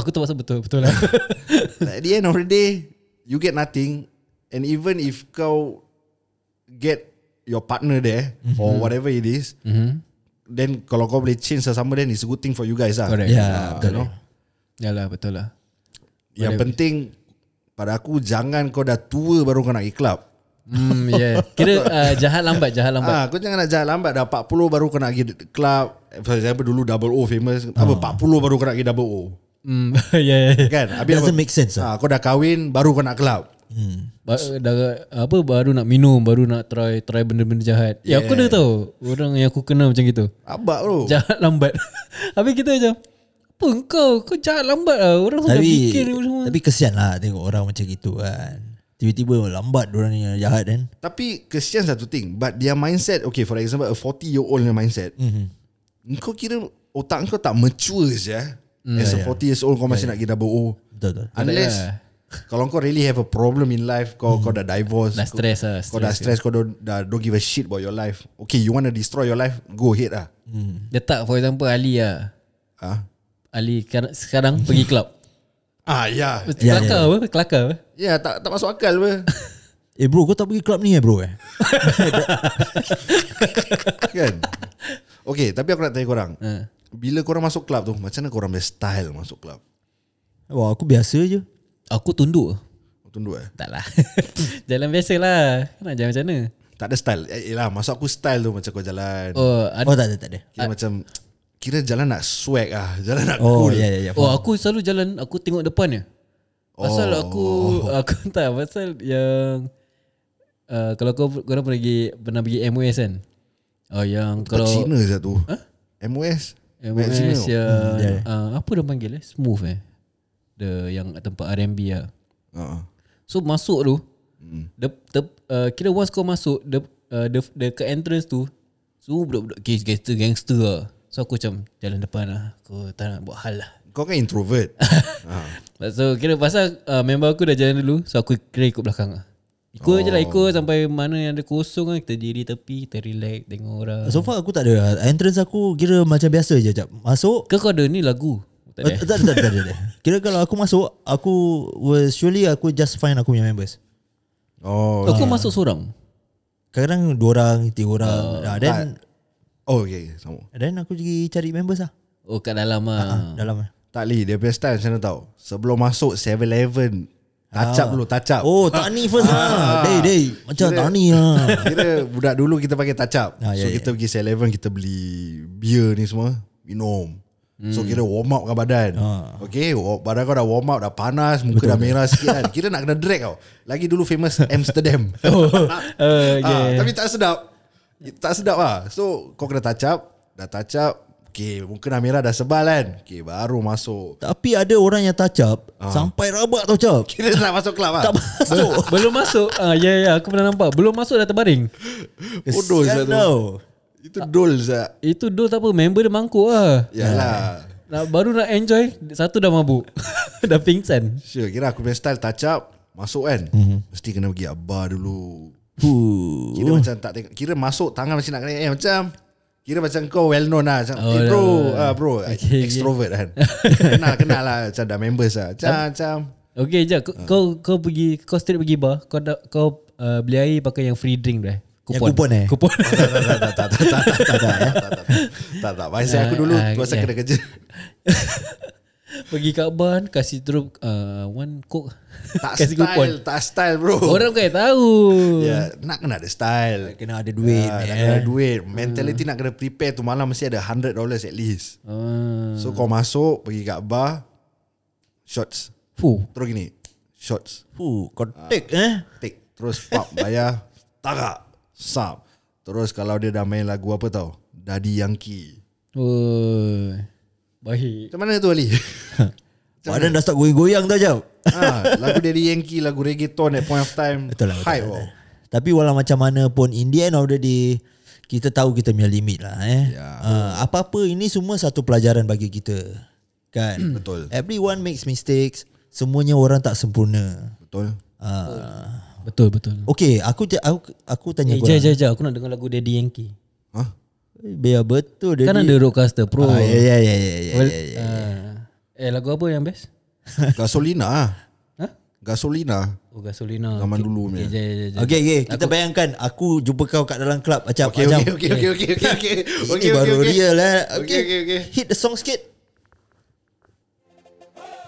C: Aku terpaksa betul Betul lah
B: at the end of the day, you get nothing. And even if kau get your partner there mm-hmm. or whatever it is,
C: mm-hmm.
B: then kalau kau boleh change sesama then it's a good thing for you guys lah.
C: Correct.
A: Ya,
B: Ah, you know.
C: Yalah betul lah
B: Yang penting pada aku jangan kau dah tua baru kau nak pergi club.
C: Hmm, yeah. Kira uh, jahat lambat, jahat lambat.
B: Ah, kau jangan nak jalan lambat dah 40 baru kau nak pergi club. For example dulu double O famous. Apa 40 baru kau nak pergi double O.
C: Hmm, yeah, yeah. yeah.
B: Kan?
A: Doesn't make sense lah.
B: Ah, kau dah kahwin baru kau nak club.
C: Ba- dah, apa baru nak minum, baru nak try try benda-benda jahat. Yeah. Ya aku dah tahu orang yang aku kenal macam gitu.
B: Abak bro.
C: Jahat lambat. Habis kita macam apa kau? Kau jahat lambat lah. Orang sudah
A: Tapi
C: fikir ni semua.
A: tapi kesian lah tengok orang macam gitu kan. Tiba-tiba lambat orang ni jahat kan.
B: Tapi kesian satu thing But their mindset Okay for example A 40 year old punya mindset mm-hmm. Kau kira Otak kau tak mature je mm, As yeah, a 40 yeah. years old Kau masih yeah, nak pergi double O
A: Betul betul.
B: Unless
C: yeah.
B: Kalau kau really have a problem in life Kau kau Mm. dah divorce
C: Dah
B: kau-
C: stress lah.
B: Kau dah stress Kau don't, dah don't give a shit about your life Okay you want to destroy your life Go ahead lah
C: Letak for example Ali lah.
B: Ah,
C: Ali kar- sekarang pergi club.
B: ah ya yeah.
C: Kelakar apa? Kelakar apa?
B: Ya yeah, tak, tak masuk akal pun
A: Eh bro kau tak pergi club ni eh bro eh.
B: Kan Okay tapi aku nak tanya korang
C: Ha.
B: Bila korang masuk club tu Macam mana korang punya style masuk club
A: Wah aku biasa je.
C: Aku tunduk.
B: Tunduk eh
C: Tak lah. Jalan biasa lah. Nak jalan macam mana?
B: Tak ada style eh, Yelah masuk aku style tu Macam kau jalan oh.
C: Oh, ada
A: Oh tak ada tak ada.
B: Kira macam Kira jalan nak swag ah, Jalan nak oh,
A: Oh
B: cool
A: ya ya ya.
C: Oh aku selalu jalan Aku tengok depan je Pasal oh. aku Aku tak Pasal yang uh, Kalau kau Korang pernah pergi Pernah pergi MOS kan Oh yang
B: Kau
C: Kalau
B: Cina je tu ha? MOS
C: MMS yang uh, apa dia panggil eh? Smooth eh. The yang tempat R&B lah.
B: Uh-uh.
C: So masuk tu mm. the, the, uh, Kira once kau masuk The, uh, the, the ke entrance tu So budak-budak gangster, gangster, gangster lah So aku macam jalan depan lah Aku tak nak buat hal lah
B: Kau kan introvert ha.
C: So kira pasal uh, member aku dah jalan dulu So aku kira ikut belakang lah Ikut oh. je lah ikut sampai mana yang ada kosong kan Kita diri tepi, kita relax, tengok orang
A: So far aku tak ada Entrance aku kira macam biasa je jap. Masuk
C: Ke kau ada ni lagu? Tak
A: Eh,
C: ada eh?
A: Tak tak tak tak, tak, tak. Kira kalau aku masuk Aku will Surely aku just find aku punya members
B: Oh
C: Kau masuk seorang?
A: Kadang-kadang dua orang Tiga orang uh, Then
B: Oh okay sama
A: Then aku pergi cari members lah
C: Oh kat dalam lah
A: Dalam lah
B: Tak Lee Dia punya style macam mana tau Sebelum masuk 7-Eleven Touch up dulu touch up
A: Oh tak ni first
C: Ah.
A: lah Dey dey Macam tak ni lah
B: Kira budak dulu kita pakai touch up
A: Ah,
B: So
A: ya,
B: kita pergi 7-Eleven Kita beli Beer ni semua Minum So
A: Hmm.
B: kira warm up kan badan
A: Ah.
B: Okay wa- Badan kau dah warm up Dah panas Muka dah merah sikit kan Kira nak kena drag tau Lagi dulu famous Amsterdam
A: Oh,
C: uh,
B: Ah, tapi tak sedap. Tak sedap lah. So kau kena touch up. Dah touch up. Okay, mungkin dah merah dah sebal kan. Okay, baru masuk.
A: Tapi ada orang yang touch up
B: Ah.
A: Sampai rabak touch up
B: Kira nak masuk kelab lah.
A: Tak masuk
C: Belum masuk ah, Ya ya aku pernah nampak Belum masuk dah terbaring
B: Bodoh
A: Kesian
B: sah tu.
A: tau.
B: Itu dol sah.
C: Itu dol tak apa Member dia mangkuk
A: Ah.
C: lah
B: Yalah.
C: nak, Baru nak enjoy Satu dah mabuk Dah pingsan
B: Sure, kira aku punya style touch up. Masuk kan. Mm-hmm. Mesti kena pergi abah dulu.
A: Huh.
B: Kira macam tak tengok. Kira masuk tangan masih nak kena. Eh macam. Kira macam kau well known lah. Macam, oh, eh, bro, ah, bro
C: Okay,
B: extrovert kan. kenal, kenal lah. Macam dah members lah. Macam, macam.
C: Okay je kau, kau, kau pergi Kau straight pergi bar Kau dah, kau uh, beli air Pakai yang free drink tu eh
A: Yang kupon eh?
C: Kupon
B: tak tak tak tak tak tak tak tak eh. tak tak tak tak Pasal aku dulu
C: Ah,
B: tu pasal
C: yeah.
B: kena kerja
C: Pergi kat bar Kasih terus uh, One coke
B: tak
C: Kasih
B: style
C: kupon
B: tak style bro
C: Orang bukan tahu
B: ya nak kena ada style
A: Kena ada duit
B: Ah, nak
A: man.
B: kena ada duit mentality nak kena prepare tu malam mesti ada 100 dollars at least
C: Ah.
B: so kau masuk pergi kat bar shots
C: Fuh
B: terus gini shots
A: Huh, Contact
B: Ah.
A: eh
B: take terus pop bayar tagak sub terus kalau dia dah main lagu apa tau Daddy Yankee
C: Oh, baik.
B: macam mana tu Ali
A: Badan dah start goyang-goyang tau jap
B: ha, lagu Daddy Yankee lagu reggaeton at point of time
A: Betul lah betul,
B: hype
A: betul.
B: oh.
A: Tapi walau macam mana pun In the end of the day Kita tahu kita punya limit lah eh
B: Ya.
A: uh, Apa-apa ini semua satu pelajaran bagi kita Kan
B: Betul.
A: Everyone makes mistakes Semuanya orang tak sempurna
B: Betul.
A: uh,
C: Betul betul.
A: Okay aku, ja- aku, aku tanya
C: Eh,
A: korang
C: jap jap jap aku nak dengar lagu Daddy Yankee.
B: Ha?
A: Biar betul dia
C: Kan ada Roadcaster Pro.
A: Ah, ya, ya, ya, ya, ya,
C: Well,
A: ya, ya.
C: ah. Eh lagu apa yang best?
B: Gasolina ah.
C: Ha?
B: Gasolina.
C: Oh Gasolina.
B: Zaman dulu
C: okay,
B: punya.
C: jap, jap, jap, jap.
A: Okay, okay. Kita bayangkan aku jumpa kau kat dalam club macam
B: Okey
A: macam
B: okey okey okey okey okey okey.
A: ini
B: Okey
A: baru
B: okey, okey.
A: real eh. Okay.
B: Okey okey okey.
A: Hit the song sikit.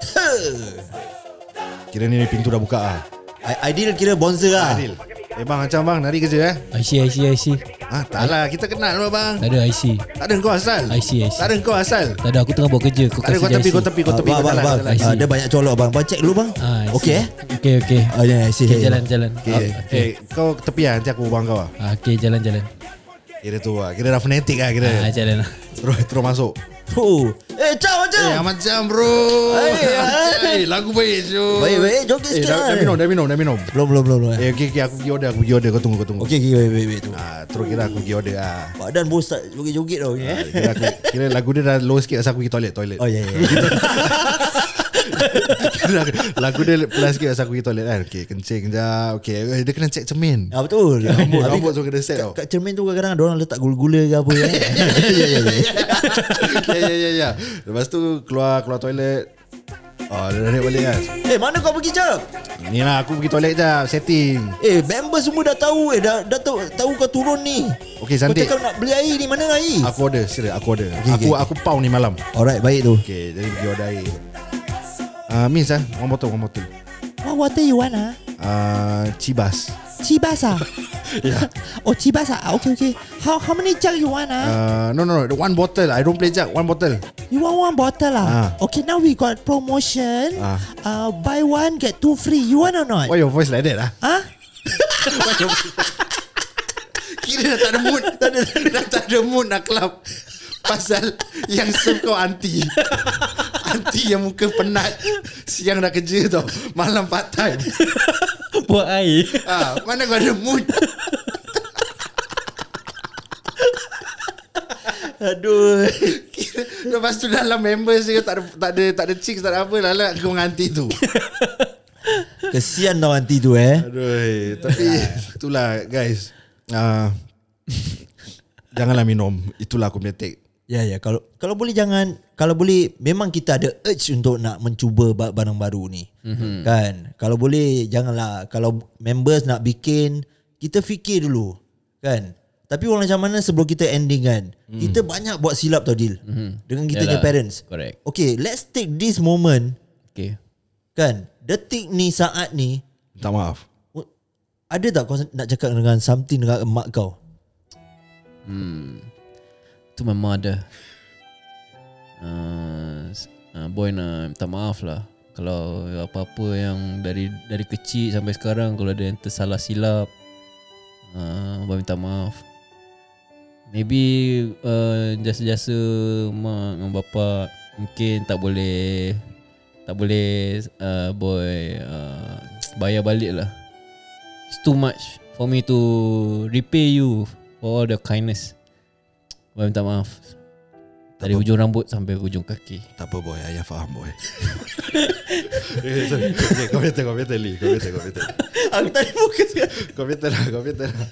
B: Kira ni pintu dah buka ah.
A: I- Ideal kira bonzer lah.
B: Adil. Eh bang macam bang nari kerja eh?
C: IC IC IC.
B: Ah tak lah kita kenal lah bang.
C: Tak ada IC.
B: Tak ada kau asal.
C: I see, I see.
B: Tak ada kau asal.
C: Tak ada aku tengah buat kerja. Kau
B: Tak ada
C: kasih
B: kau
C: je
B: tepi
C: IC.
B: kau tepi kau
A: Ah,
B: tepi.
A: bang,
B: kau
A: bang,
B: jalan,
A: bang.
B: jalan.
A: Ah, Dia banyak colok bang. Bang check dulu bang.
C: Ah, IC.
A: Okey eh.
C: Okey okey.
A: Oh, ya, I see.
C: Okay, jalan jalan.
B: Okey.
C: Ah,
B: Eh kau tepi ah nanti aku bang kau ah.
C: ah, Okey jalan jalan.
B: Kira tu ah. Kira dah fanatik ah kira.
C: Ah jalan lah.
B: Terus terus masuk.
A: Oh. Eh, ciao,
B: Eh
A: ciao.
B: macam bro.
A: Hai, hai.
B: Eh lagu baik tu.
A: Baik, baik. Joget
B: Eh
A: sikit
B: dah dah minum
A: lah.
B: dah minum dah minum.
A: Belum, belum, belum. belum.
B: Eh okey okey aku pergi order aku pergi order kau tunggu kau tunggu.
A: Okey, okey. Baik, baik, baik. tu.
B: Ah, terus kira aku pergi order ah.
A: Badan bos tak joget-joget tau. okey, eh.
B: Kira, aku, kira lagu dia dah low sikit Pasal aku pergi toilet toilet
A: Oh, ya, ya. ya.
B: Kira Lagu dia pelan sikit Pasal aku pergi toilet kan Okay kencing sekejap Okay eh, Dia kena check cermin
A: Ah, betul.
B: Rambut
A: Habis
B: Rambut semua kena set tau
A: Kat cermin tu kadang-kadang ada orang letak gula-gula ke apa eh. Ya ya ya.
B: Ya ya ya ya Lepas tu keluar Keluar toilet Oh dia naik balik kan
A: Eh mana kau pergi jap?
B: Ni lah aku pergi toilet je Setting
A: Eh member semua dah tahu eh dah dah tahu, tahu kau turun ni.
B: Okay
A: Kau
B: cantik Ah.
A: cakap nak beli air ni mana air?
B: Aku order Serius aku order
A: okay,
B: Aku aku pau ni malam
A: Alright baik tu.
B: Okay jadi pergi order air Ah, Miss ah One bottle One bottle
A: What water you want ah?
B: Ah, Cibas
A: Chibasa. Oh Chibasa. Ah, Okay okay. How how many jug you want ah?
B: Ah, No no no the One bottle I don't play jack One bottle
A: You want one bottle ah?
B: Ah.
A: Okay now we got promotion.
B: Ah.
A: Uh, buy one get two free. You want or not?
B: Why your voice like that ah?
A: Ah?
B: Kira dah tak ada mood Dah tak ada mood nak club Pasal yang serve kau anti Anti yang muka penat Siang dah kerja tau Malam part time
C: Buat air
B: ah, Mana kau ada mood
A: Aduh.
B: Kira- Lepas tu dalam members dia tak ada tak ada tak ada chicks tak ada apa lalat kau dengan anti tu.
A: Kesian tau nanti tu eh.
B: Aduh, tapi ah, itulah guys. Uh, janganlah minum. Itulah aku punya take.
A: Ya ya kalau kalau boleh jangan kalau boleh memang kita ada urge untuk nak mencuba ba- barang baru ni.
C: Mhm.
A: Mm-hmm. Kan? Kalau boleh janganlah kalau members nak bikin kita fikir dulu. Kan? Tapi orang macam mana sebelum kita ending kan? Mm. Kita banyak buat silap tau deal. Mm-hmm. Dengan kita punya
C: Mhm. Yalah,
A: parents.
C: correct.
A: Okay, let's take this moment
C: Okay
A: kan. Detik ni saat ni
B: Minta maaf.
A: w- ada tak kau nak cakap dengan something dengan emak kau?
C: To my mother uh, s- uh, Boy nak minta maaf lah Kalau apa-apa yang dari dari kecil sampai sekarang Kalau ada yang tersalah silap uh, Boy minta maaf Maybe uh, jasa-jasa mak dengan bapak Mungkin tak boleh Tak boleh uh, boy uh, bayar balik lah It's too much for me to repay you for all the kindness. Boy minta maaf. Dari hujung rambut sampai hujung kaki.
B: Tak apa boy, ayah faham boy. Eh, sorry. Okay, kau betul, kau betul Lee. Kau betul, kau betul.
A: Aku tadi fokus kan.
B: Kau betul lah, kau betul lah.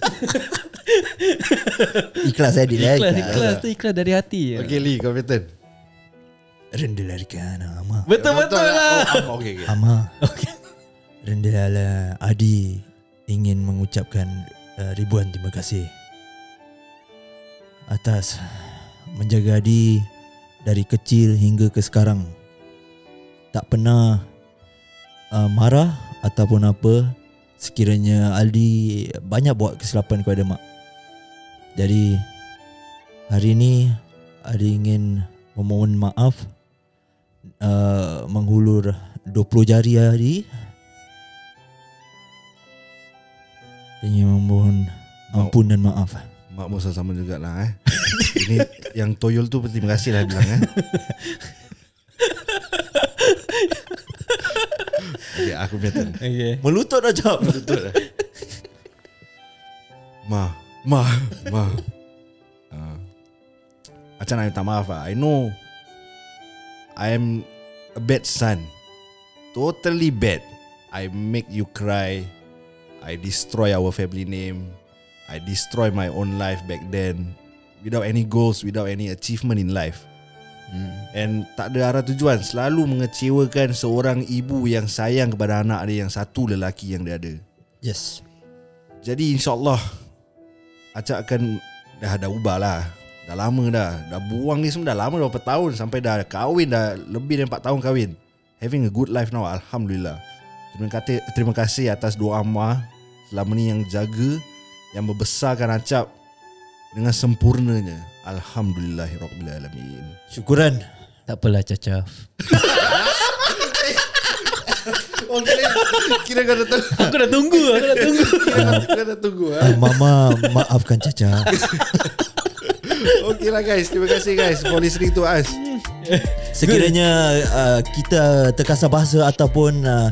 A: Ikhlas eh Dil, eh.
C: Ikhlas, ikhlas tu ikhlas dari hati. Okay.
B: Okay Lee, kau betul.
A: Rendelarikan amat.
C: Betul betul lah.
B: Oh, okay, okay.
A: Ama Rendala Adi ingin mengucapkan uh, ribuan terima kasih atas menjaga Adi dari kecil hingga ke sekarang. Tak pernah uh, marah ataupun apa sekiranya Aldi banyak buat kesilapan kepada mak. Jadi hari ini Aldi ingin memohon maaf uh, menghulur 20 jari hari dan yang memohon ampun dan maaf.
B: Mak Musa sama juga lah eh. Ini yang toyol tu terima kasih lah bilang eh. okay, aku punya turn.
C: Okay.
A: Melutut dah jawab.
B: Betul lah. Ma, ma, ma. Uh, macam nak minta maaf lah. I know I am a bad son. Totally bad. I make you cry. I destroy our family name. I destroy my own life back then without any goals, without any achievement in life. Hmm. And tak ada arah tujuan Selalu mengecewakan seorang ibu yang sayang kepada anak dia Yang satu lelaki yang dia ada
A: Yes.
B: jadi insyaAllah Acak akan Dah dah ubah lah Dah lama dah Dah buang ni semua dah lama berapa tahun Sampai dah kahwin dah Lebih dari 4 tahun kahwin Having a good life now Alhamdulillah Terima kasih, terima kasih atas doa Amma Selama ni yang jaga Yang membesarkan Acap Dengan sempurnanya Alhamdulillahirrahmanirrahim
A: Syukuran.
C: Tak apalah cacaf.
B: Oh kira Kira kau dah tunggu
C: Aku dah tunggu, aku dah tunggu.
B: Kira dah tunggu ha?
A: Ah, Mama maafkan Caca.
B: Okay lah guys Terima kasih guys For listening to us
A: Sekiranya uh, kita terkasar bahasa ataupun uh,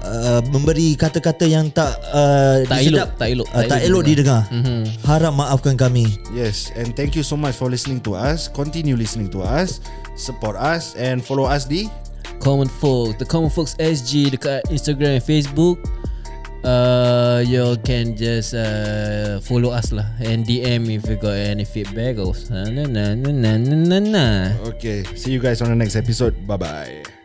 A: uh, memberi kata-kata yang tak uh,
C: Tak
A: disedap,
C: elok, tak elok,
A: uh,
C: tak
A: tak
C: elok
A: elok didengar.
C: Mhm.
A: Harap maafkan kami.
B: Yes, and thank you so much for listening to us. Continue listening to us, support us, and follow us di
C: Common Folk, The Common Folks SG dekat Instagram and Facebook. Uh, you can just uh, follow us lah and DM if you got any feedback or na na na na na na.
B: Okay, see you guys on the next episode. Bye bye.